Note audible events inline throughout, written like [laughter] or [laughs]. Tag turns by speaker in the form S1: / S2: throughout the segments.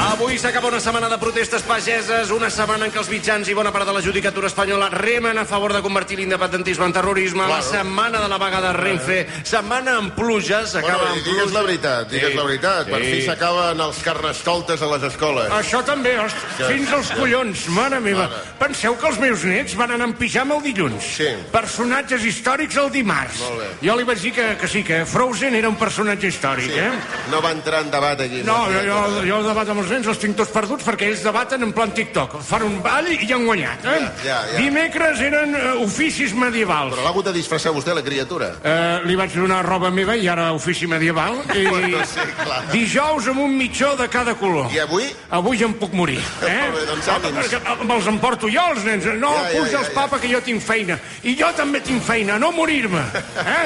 S1: Avui s'acaba una setmana de protestes pageses, una setmana en què els mitjans i bona part de la judicatura espanyola remen a favor de convertir l'independentisme en terrorisme, la setmana de la vaga de Renfe, setmana amb pluges,
S2: Bueno,
S1: s'acaba
S2: i
S1: amb
S2: digues
S1: pluges...
S2: la veritat, digues
S1: Sí.
S2: la veritat. Per
S1: Sí.
S2: fi s'acaben els carnestoltes a les escoles.
S3: Això també, host, fins als collons, mare meva. Penseu que els meus nets van anar en pijama el dilluns.
S2: Sí.
S3: Personatges històrics el dimarts.
S2: Molt bé.
S3: Jo li vaig dir que, que sí, que Frozen era un personatge històric, eh?
S2: No va entrar en debat aquí.
S3: No, jo, jo, jo el debat amb els nens els tinc tots perduts perquè ells debaten en plan TikTok. Fan un ball i ja han guanyat, eh?
S2: Ja, ja, ja.
S3: Dimecres eren eh, oficis medievals.
S2: Però l'ha hagut de disfressar vostè, la criatura.
S3: Eh, li vaig donar roba meva i ara ofici
S2: [laughs]
S3: medieval. I...
S2: Bueno, sí, clar.
S3: Dijous amb un mitjó de cada color.
S2: I avui?
S3: Avui ja em puc morir, eh?
S2: [laughs] Molt bé, doncs ànims.
S3: Perquè eh, Me'ls emporto jo, els nens. No,
S2: Ja,
S3: ja,
S2: ja,
S3: puja
S2: ja,
S3: els
S2: ja.
S3: papa, que jo tinc feina. I jo també tinc feina, no morir-me. Eh?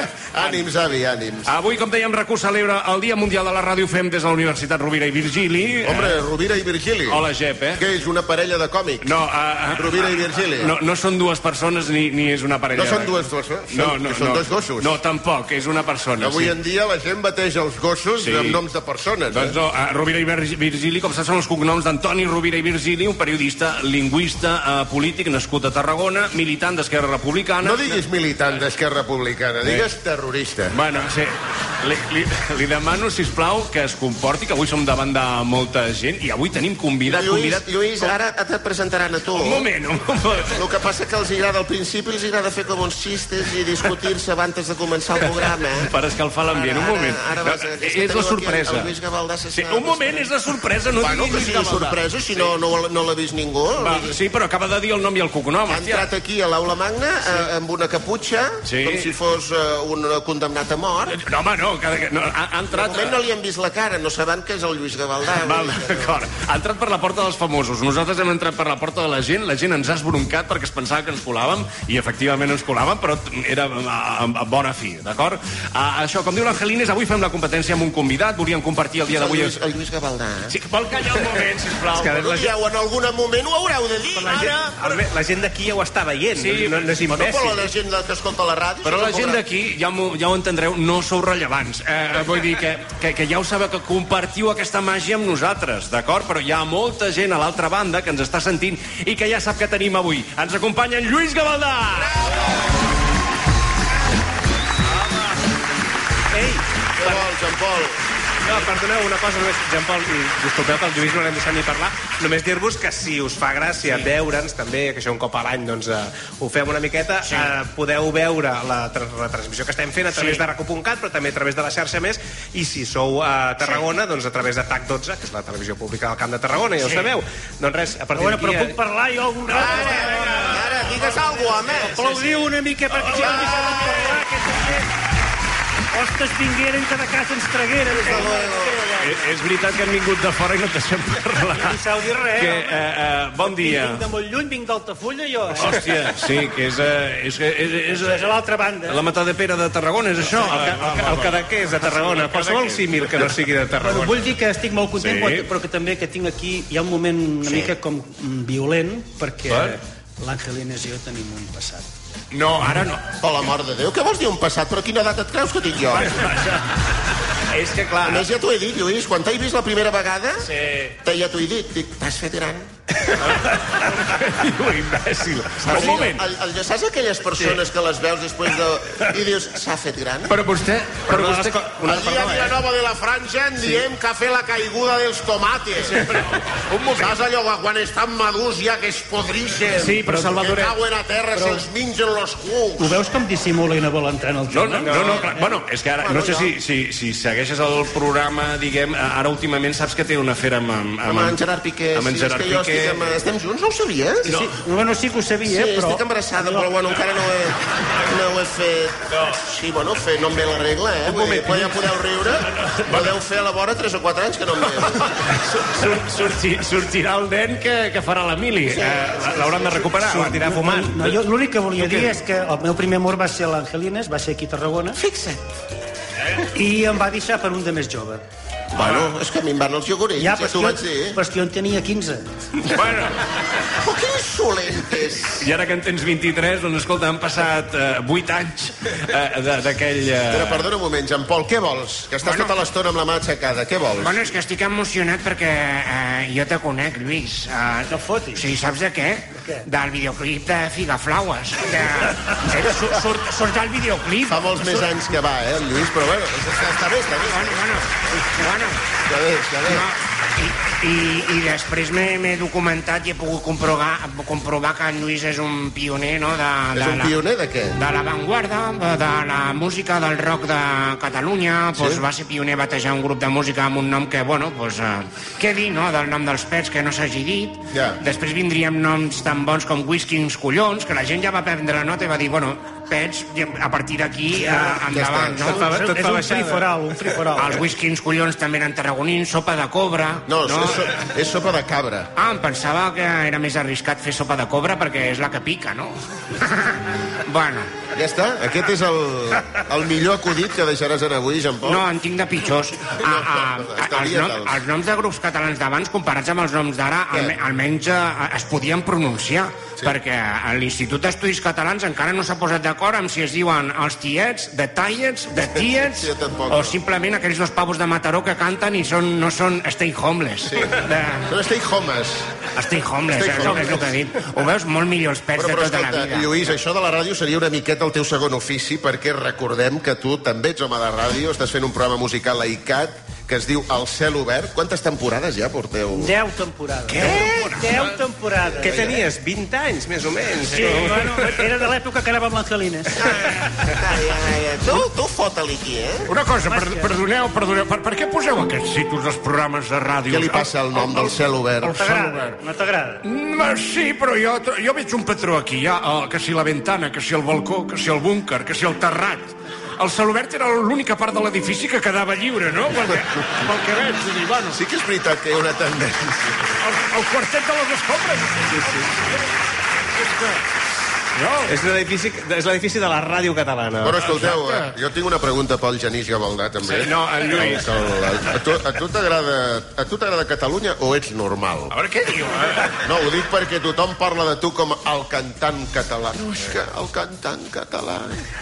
S2: Ànims, avi, ànims.
S1: Avui, com dèiem, RAC1 celebra el Dia Mundial de la Ràdio Fem des de la Universitat Rovira i Virgili.
S2: Hombre, Rovira i Virgili.
S1: Hola, Jep, eh?
S2: Que és una parella de còmics.
S1: No, a, a,
S2: Rovira i Virgili.
S1: no, no són dues persones ni, ni és una parella.
S2: No són
S1: de-
S2: dues persones,
S1: No,
S2: són-
S1: no,
S2: són
S1: no.
S2: dos gossos.
S1: No, tampoc, és una persona.
S2: Avui
S1: sí.
S2: en dia la gent bateja els gossos
S1: Sí.
S2: amb noms de persones.
S1: Doncs
S2: Eh?
S1: no, a Rovira i Vir- Virgili, com saps, són els cognoms d'Antoni Rovira i Virgili, un periodista, lingüista, eh, polític nascut a Tarragona, militant d'Esquerra Republicana.
S2: No diguis militant d'Esquerra Republicana,
S1: Eh.
S2: digues terrorista.
S1: Bueno, sí. Li, li, li demano, si plau, que es comporti, que avui som davant de molta gent i avui tenim convidat, convidat...
S2: Lluís, ara et presentaran a tu.
S1: Un moment, un moment.
S2: El que passa que els agrada al principi, els agrada fer com uns xistes i discutir-se abans de començar el programa. eh?
S1: Per escalfar l'ambient, un moment. No, és la sorpresa.
S2: Gavaldà
S1: Sí, un moment, és la sorpresa, no
S2: Bueno, que
S1: diguis
S2: sigui
S1: Lluís Gavaldà.
S2: sorpresa, si no, no, no l'ha vist ningú.
S1: Va,
S2: Vull dir,
S1: sí, però acaba de dir el nom i el cognom,
S2: Ha
S1: hòstia.
S2: entrat aquí a l'aula magna eh, amb una caputxa,
S1: Sí. Eh,
S2: com si fos eh, un condemnat a mort.
S1: No, home, no, que, que- no ha, ha
S2: De
S1: entrat...
S2: moment no li han vist la cara, no sabran que és el Lluís Gavaldà. eh?
S1: Val, d'acord. Ha entrat per la porta dels famosos. Nosaltres hem entrat per la porta de la gent. La gent ens ha esbroncat perquè es pensava que ens colàvem i efectivament ens colàvem, però era a, a, a bona fi, d'acord? Ah, això, com diu l'Angelines, avui fem la competència amb un convidat. Volíem compartir el dia
S2: El
S1: d'avui...
S2: Lluís, el Lluís Gavaldà. eh?
S1: Sí, vol callar un moment, sisplau.
S4: És que la gent,
S2: Dieu, en algun moment ho haureu de dir,
S4: la
S2: ara.
S4: gent, Albert, la gent d'aquí ja ho està veient,
S1: Sí,
S4: no, no és
S2: No, però
S4: imbècil.
S2: la gent que escolta la ràdio...
S1: Però
S2: això
S1: la
S2: no
S1: gent
S2: podrà-
S1: d'aquí, ja, m'ho- ja ho entendreu, no sou rellevants. Eh, vull dir que, que, que ja ho sabeu, que compartiu aquesta màgia amb nosaltres, d'acord? Però hi ha molta gent a l'altra banda que ens està sentint i que ja sap que tenim avui. Ens acompanya en Lluís Gavaldà!
S4: Ei,
S2: Què vols, en Pol?
S4: no, perdoneu una cosa només, Jean Paul, i disculpeu que el Lluís no l'hem deixat ni parlar, només dir-vos que si us fa gràcia veure'ns també, que això un cop a l'any doncs, eh, ho fem una miqueta, eh, podeu veure la tra- retransmissió que estem fent a través de racu.cat, però també a través de la xarxa més, i si sou a Tarragona, doncs a través de TAC12, que és la televisió pública del Camp de Tarragona, ja ho sabeu. Doncs res, a partir
S5: Bueno, però
S4: d'aquí...
S5: puc parlar jo algun rato?
S2: Ara, digues alguna cosa, home.
S5: Aplaudiu una mica perquè si no em deixaran parlar, que també... Hostes vingueren que de casa ens tragueren.
S1: És, Eh, és veritat que hem vingut de fora i no et deixem parlar.
S5: No sabeu dir res.
S1: Que, eh, eh, bon dia.
S5: Vinc de molt lluny, vinc d'Altafulla, jo. eh?
S1: Hòstia, sí, que és... Eh, és, és, és,
S5: És a l'altra banda.
S1: la matà de Pere de Tarragona, és això?
S4: El, ca- el, ca- el cadaqués de Tarragona, qualsevol símil que no sigui de
S5: Bueno,
S4: Tarragona.
S5: vull dir que estic molt content,
S1: Sí.
S5: sí. però que també que tinc aquí... Hi ha un moment una sí. mica com mm, violent, perquè
S4: Per?
S5: l'Angelines i jo tenim un passat.
S1: No, ara no.
S2: Per l'amor Oh, de Déu, què vols dir un passat? Però quina edat et creus que tinc jo?
S1: [laughs] És que, clar,
S2: A més, ja t'ho he dit, Lluís, quan t'he vist la primera vegada, sí. ja t'ho he dit, dic, t'has fet gran.
S1: diu [laughs] imbècil. Un moment.
S2: El, el, saps aquelles persones que les veus després de... I dius, s'ha fet gran?
S1: Però vostè... Però vostè...
S2: Allí a Vilanova de la Franja en diem que ha fet la caiguda dels tomates. Sí, però, un moment. Saps allò que quan estan madurs ja que es podrixen?
S1: Sí, però, Salvadoret,
S2: Que cauen a terra, eh? però... se'ls mengen los cucs.
S5: Ho veus com dissimula i no vol entrar en el
S1: No,
S5: tema?
S1: no, no, no clar. bueno, és que ara, no sé si, si, si segueixes el programa, diguem, ara últimament saps que té una afera amb... Amb,
S2: Amb en Gerard Piqué,
S1: Amb en
S2: sí,
S1: Gerard
S2: és que jo
S1: Piqué.
S2: estic amb... Estem junts, no ho sabies?
S5: Sí, bueno, sí que ho
S2: Sí,
S5: sabia,
S2: eh,
S5: però...
S2: estic embarassada, però bueno, encara no ho he, no ho he fet... Sí, bueno, fer no em ve la regla, eh? Vull dir, quan ja podeu riure, podeu fer a la vora 3 o 4 anys que no em ve.
S1: Sur, sortir, sortirà el nen que, que farà l'Emili. Sí, eh, L'hauran de recuperar.
S4: Sortirà fumant.
S5: No, jo l'únic que volia dir és que el meu primer amor va ser l'Angelines, va ser aquí a Tarragona. Fixa't. I em va deixar per un de més jove.
S2: Bueno, és que a mi em van els iogurits, ja, ja t'ho
S5: jo,
S2: vaig dir. Oh,
S5: però és que jo en tenia 15.
S1: Bueno,
S2: Però quins solentes.
S1: I ara que en tens 23, doncs escolta, han passat eh, 8 anys eh, de- d'aquell...
S2: Però
S1: Eh...
S2: perdona un moment, Jean Paul, què vols? Que estàs
S6: Bueno.
S2: tota l'estona amb la mà aixecada, què vols?
S6: Bueno, és que estic emocionat perquè eh, jo te conec, Lluís. Eh,
S5: No fotis.
S6: Sí, saps de què?
S5: què?
S6: Del videoclip de Figaflaues. De... Eh, su- surt, surt del videoclip.
S2: Fa molts més anys que va, eh, el Lluís, però bueno, està, està bé, està bé,
S6: Bueno, bueno, bueno.
S2: està bé, està bé.
S6: No, i, i, i després m'he m'he documentat i he pogut comprovar, comprovar que en Lluís és un pioner, no? De, de
S2: És un
S6: la-
S2: pioner de què?
S6: de l'avantguarda, eh, de, de la música del rock de Catalunya, doncs va ser pioner batejar un grup de música amb un nom que, bueno, doncs, eh, què dir, no?, del nom dels pets que no s'hagi dit.
S2: Ja.
S6: Després vindríem noms tan bons com Whiskings Collons, que la gent ja va prendre nota i va dir, bueno, pets, i a partir d'aquí eh, endavant,
S2: està.
S6: no?
S4: Fa- tot
S5: És
S4: fa
S5: un
S4: baixada.
S5: friforal, un friforal.
S6: Els Whiskings Collons també eren tarragonins, sopa de cobra...
S2: No, no. És, so- és sopa de cabra.
S6: Ah, em pensava que era més arriscat fer sopa de cobra perquè és la que pica, no? [laughs] bueno,
S2: Ja està? Aquest és el, el millor acudit que deixaràs en avui, Jean Paul?
S6: No, en tinc de
S2: [laughs]
S6: pitjors. A, a, a, els,
S2: Estalvia't
S6: nom,
S2: els.
S6: els noms de grups catalans d'abans, comparats amb els noms d'ara,
S2: Què?
S6: alme, almenys eh, es podien pronunciar, sí. perquè a l'Institut d'Estudis Catalans encara no s'ha posat d'acord amb si es diuen els tiets, de tallets, de tiets,
S2: Sí, jo tampoc.
S6: o simplement aquells dos pavos de Mataró que canten i són, no són stay homeless.
S2: Sí.
S6: De,
S2: Són stay homes.
S6: stay
S2: Stay
S6: homeless, stay és, homeless. és el que he dit. Ho veus molt millor els pets
S2: Però, però
S6: de tota
S2: escolta,
S6: la vida.
S2: Lluís, això de la ràdio seria una miqueta el teu segon ofici, perquè recordem que tu també ets home de ràdio, estàs fent un programa musical a ICAT que es diu El cel obert. Quantes temporades ja porteu?
S5: Deu temporades. Què? Deu temporades.
S4: Què tenies? 20 anys, més o menys?
S5: Sí, bueno, era de l'època que anava amb l'Angelines.
S2: Ai, ai, ai. Tu, tu fota-li aquí, eh?
S3: Una cosa, per, perdoneu, perdoneu, per, per què poseu aquests títols als programes de ràdio?
S2: Què li passa al nom del cel obert?
S5: T'agrada? No t'agrada?
S3: Mm, sí, però jo, tro- jo veig un patró aquí. Hi ha el, que si la ventana, que si el balcó, que si el búnquer, que si el terrat. El cel obert era l'única part de l'edifici que quedava lliure, no? Perquè, pel que veig, vull dir, bueno,
S2: Sí que és veritat que hi ha una tendència.
S3: el, el quartet de les escombres. Sí, sí. És que... No,
S4: És l'edifici és l'edifici de la ràdio catalana.
S2: Bueno, escolteu, eh, jo tinc una pregunta pel Genís Gavaldà, també.
S1: No, en Lluís.
S2: Que el- A tu a tu t'agrada a tu t'agrada Catalunya o ets normal?
S1: A veure què diu, eh?
S2: No, ho dic perquè tothom parla de tu com el cantant català. No, és que el cantant català...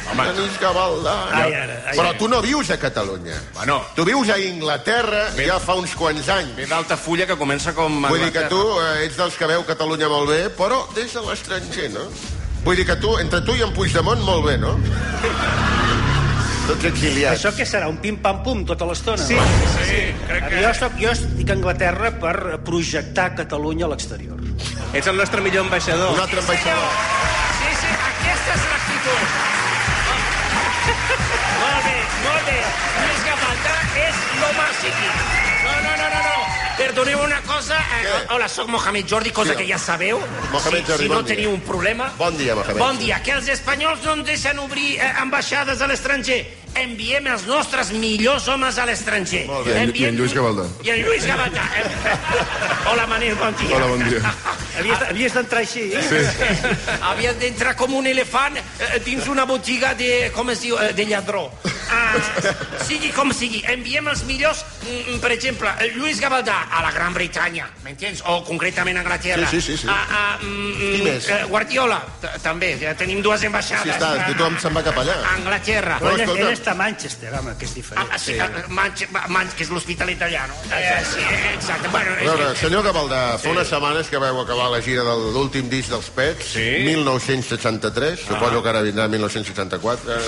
S2: Home. Genís Gavaldà...
S5: Ai, ara, ai,
S2: Però tu no vius a Catalunya.
S1: Bueno.
S2: Tu vius a Inglaterra ja fa uns quants anys.
S1: Ve d'alta fulla que comença com...
S2: Vull dir que tu eh, ets dels que veu Catalunya molt bé, però des de l'estranger, no? Vull dir que tu, entre tu i en Puigdemont, molt bé, no? Tots exiliats.
S5: Això què serà? Un pim-pam-pum tota l'estona?
S4: Sí,
S1: Sí, crec que...
S5: Jo, soc, jo estic a Anglaterra per projectar Catalunya a l'exterior.
S4: Ets el nostre millor
S2: Un
S4: ambaixador.
S2: altre ambaixador.
S6: Sí, sí, aquesta és l'actitud.
S7: Molt bé, molt bé. Lluís Gavaldà és l'home psíquic.
S6: No, no, no, no, no. Perdoneu una cosa. Eh,
S2: Què?
S6: hola, sóc Mohamed Jordi, cosa
S2: Sí.
S6: que ja sabeu.
S2: Mohamed
S6: si,
S2: Jordi,
S6: si no
S2: bon dia.
S6: teniu un problema...
S2: Bon dia, Mohamed.
S6: Bon dia. Que els espanyols no ens deixen obrir eh, ambaixades a l'estranger. Enviem els nostres millors homes a l'estranger.
S2: Molt bé. I en-
S6: Enviem-
S8: i en Lluís Gavaldà.
S6: I en Lluís
S2: [laughs]
S6: Gavaldà. Eh, Hola, Manel, bon dia.
S8: Hola, bon dia.
S5: Havies, havies d'entrar així? eh? Sí.
S6: [laughs] Havia d'entrar com un elefant eh, dins una botiga de, com es diu, eh, de lladró. Ah, sigui com sigui, enviem els millors, mm, per exemple, eh, Lluís Gavaldà a la Gran Bretanya, m'entens? O concretament a Anglaterra.
S2: Sí, sí, sí, sí.
S6: Ah, ah, mm,
S2: Qui
S6: mm,
S2: més?
S6: eh, Guardiola, t- també, ja tenim dues ambaixades.
S2: Sí, està,
S6: Ah,
S2: tothom se'n va cap allà.
S6: A Anglaterra.
S2: Però
S5: Però ell,
S2: escolta-
S5: ell està a Manchester, home, que és diferent.
S6: Ah, sí, sí. Manx, Manx, que és l'hospital italià, no? Eh, sí, exacte. Bueno,
S2: A veure, senyor Gavaldà, fa unes setmanes que vau acabar la gira de l'últim disc dels Pets, sí. 1963,
S1: Ah.
S2: suposo que ara vindrà 1964, eh,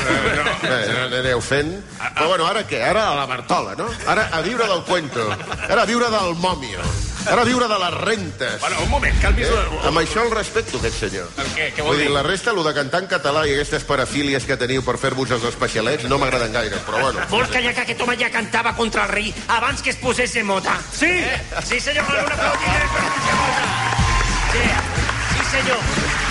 S2: eh, anireu fent.
S1: Ah,
S2: Però bueno, ara què? Ara a la Bartola, no? Ara a viure del cuento, ara a viure del mòmio, ara a viure de les rentes.
S1: Bueno, un moment, calmis...
S2: Eh?
S1: Eh?
S2: Amb això el respecto, aquest senyor.
S1: Què, què vol
S2: Vull dir,
S1: dir?
S2: la resta, lo de cantar en català i aquestes parafílies que teniu per fer-vos els especialets no m'agraden gaire, però bueno.
S6: Vols callar que aquest home ja cantava contra el rei abans que es posés de moda? Sí! Eh? Sí, senyor, un aplaudiment per Puigdemont. Sí, sí, senyor.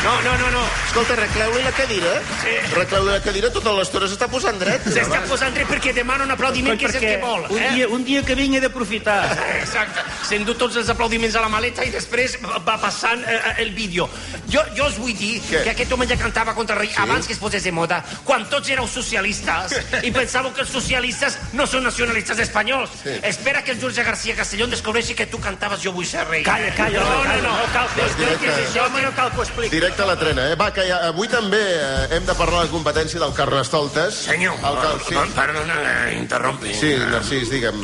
S6: No, no, no, no.
S2: Escolta, recleu-li la cadira. Sí. Recleu-li la cadira, tota l'estona s'està posant dret.
S6: S'està posant dret perquè demana un aplaudiment, que és el que vol. eh?
S5: un, dia, un dia que vinc he d'aprofitar.
S6: Exacte. S'endú tots els aplaudiments a la maleta i després va passant eh, el vídeo. Jo, jo us vull dir
S2: Què?
S6: que aquest home ja cantava contra el rei sí? abans que es posés de moda, quan tots éreu socialistes i pensàveu que els socialistes no són nacionalistes espanyols. Sí. Espera que el Jorge García Castellón descobreixi que tu cantaves Jo vull ser rei.
S5: Calla, calla,
S6: No,
S5: home,
S6: no, no, no cal que ho
S2: directe.
S6: expliquis, això, home, no cal que ho expliquis.
S2: Directe a la trena, eh? Va, que ja, avui també eh, hem de parlar de la competència del Carnestoltes.
S7: Senyor,
S2: El cal... sí.
S7: per- perdona, eh, interrompi.
S2: sí, Narcís, digue'm.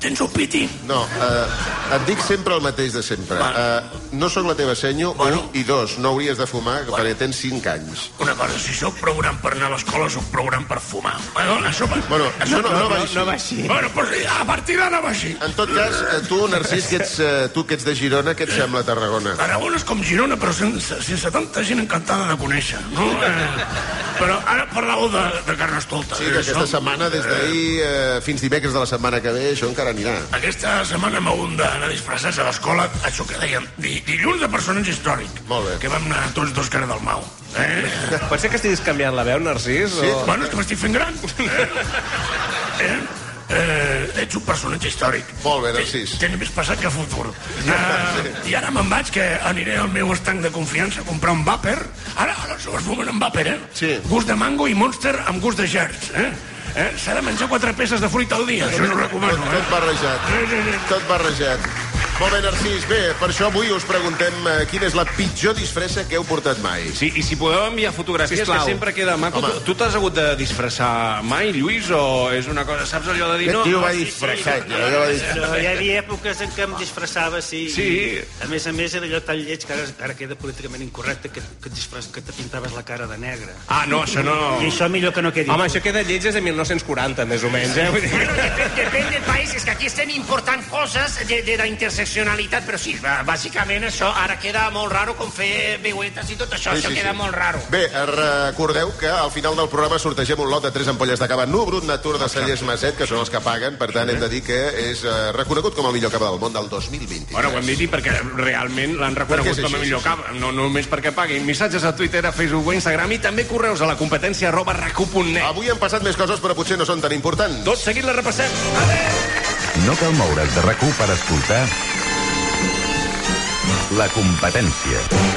S7: Tens un piti?
S2: No, eh, et dic sempre el mateix de sempre. Eh, no sóc la teva senyo, bueno. un i dos. No hauries de fumar, bueno. perquè tens cinc anys.
S7: Una cosa, si sóc program per anar a l'escola, sóc program per fumar. Bueno, això va...
S2: Bueno, això no, no, va així.
S4: No va així.
S7: Bueno, pues, a partir d'ara va així.
S2: En tot cas, eh, tu, Narcís, que ets, eh, tu que ets de Girona, què et sembla Tarragona?
S7: Tarragona és com Girona, però sense, sense tanta gent encantada de conèixer. No? Eh, però ara parlàveu de, de Eh, Carnestolta.
S2: Sí, d'aquesta setmana, des d'ahir eh, fins dimecres de la setmana que ve, això encara anirà.
S7: Aquesta setmana m'hagut d'anar disfressats a l'escola, això que dèiem, di dilluns de personatge històric.
S2: Molt bé.
S7: Que vam anar tots dos cara del mau. Eh?
S4: Pot ser que estiguis canviant la veu, Narcís? Sí. O...
S7: Bueno, és que m'estic fent gran. Eh? eh? Eh, ets un personatge històric.
S2: Molt bé, Narcís.
S7: Tens- Tens més passat que futur. Uh, I ara me'n vaig, que aniré al meu estanc de confiança a comprar un vàper. Ara, ara se fumen amb vàper, eh?
S2: Sí.
S7: Gust de mango i monster amb gust de gerds, eh? eh? S'ha de menjar quatre peces de fruita al dia, això no ho
S2: Tot,
S7: recomano,
S2: tot
S7: eh?
S2: barrejat.
S7: Sí, sí, sí.
S2: Tot barrejat. Molt bé, Narcís. Bé, per això avui us preguntem eh, quina és la pitjor disfressa que heu portat mai.
S1: Sí, i si podeu enviar fotografies,
S4: Sisplau.
S1: que sempre queda maco.
S2: Home.
S1: Tu- Tu t'has hagut de disfressar mai, Lluís, o és una cosa... Saps allò de dir...
S2: Aquest tio
S1: No,
S2: va disfressat, ja, ja va dir...
S5: No, hi havia èpoques en què em disfressava, sí.
S1: Sí.
S5: A més a més, era allò tan lleig que ara, ara queda políticament incorrecte que, que, et disfress, que te pintaves la cara de negre.
S1: Ah, no, això no...
S6: Oh.
S5: I això millor que no quedi.
S4: Home, això queda lleig des de 1940, més o menys, eh? Vull dir...
S6: Bueno, depèn, depèn del país, és que aquí estem important coses de, de la interseccionalitat, però sí, va- bàsicament això ara queda molt raro com fer veuetes i tot això, sí, això sí, queda sí. molt raro.
S2: Bé, eh, recordeu que al final del programa sortegem un lot de tres ampolles de cava Nubrut Natur de Cellers Maset, que són els que paguen. Per tant, hem de dir que és eh, reconegut com el millor cava del món del 2020.
S1: Bueno, ho hem dit i perquè realment l'han reconegut
S2: Perquè és
S1: com a
S2: així,
S1: millor cap. No només perquè paguin. Missatges a Twitter, a Facebook, a Instagram i també correus a la competència arroba recu.net.
S2: Avui han passat més coses, però potser no són tan importants.
S1: Tot seguit la repassem.
S8: No cal moure's de rac per escoltar la competència.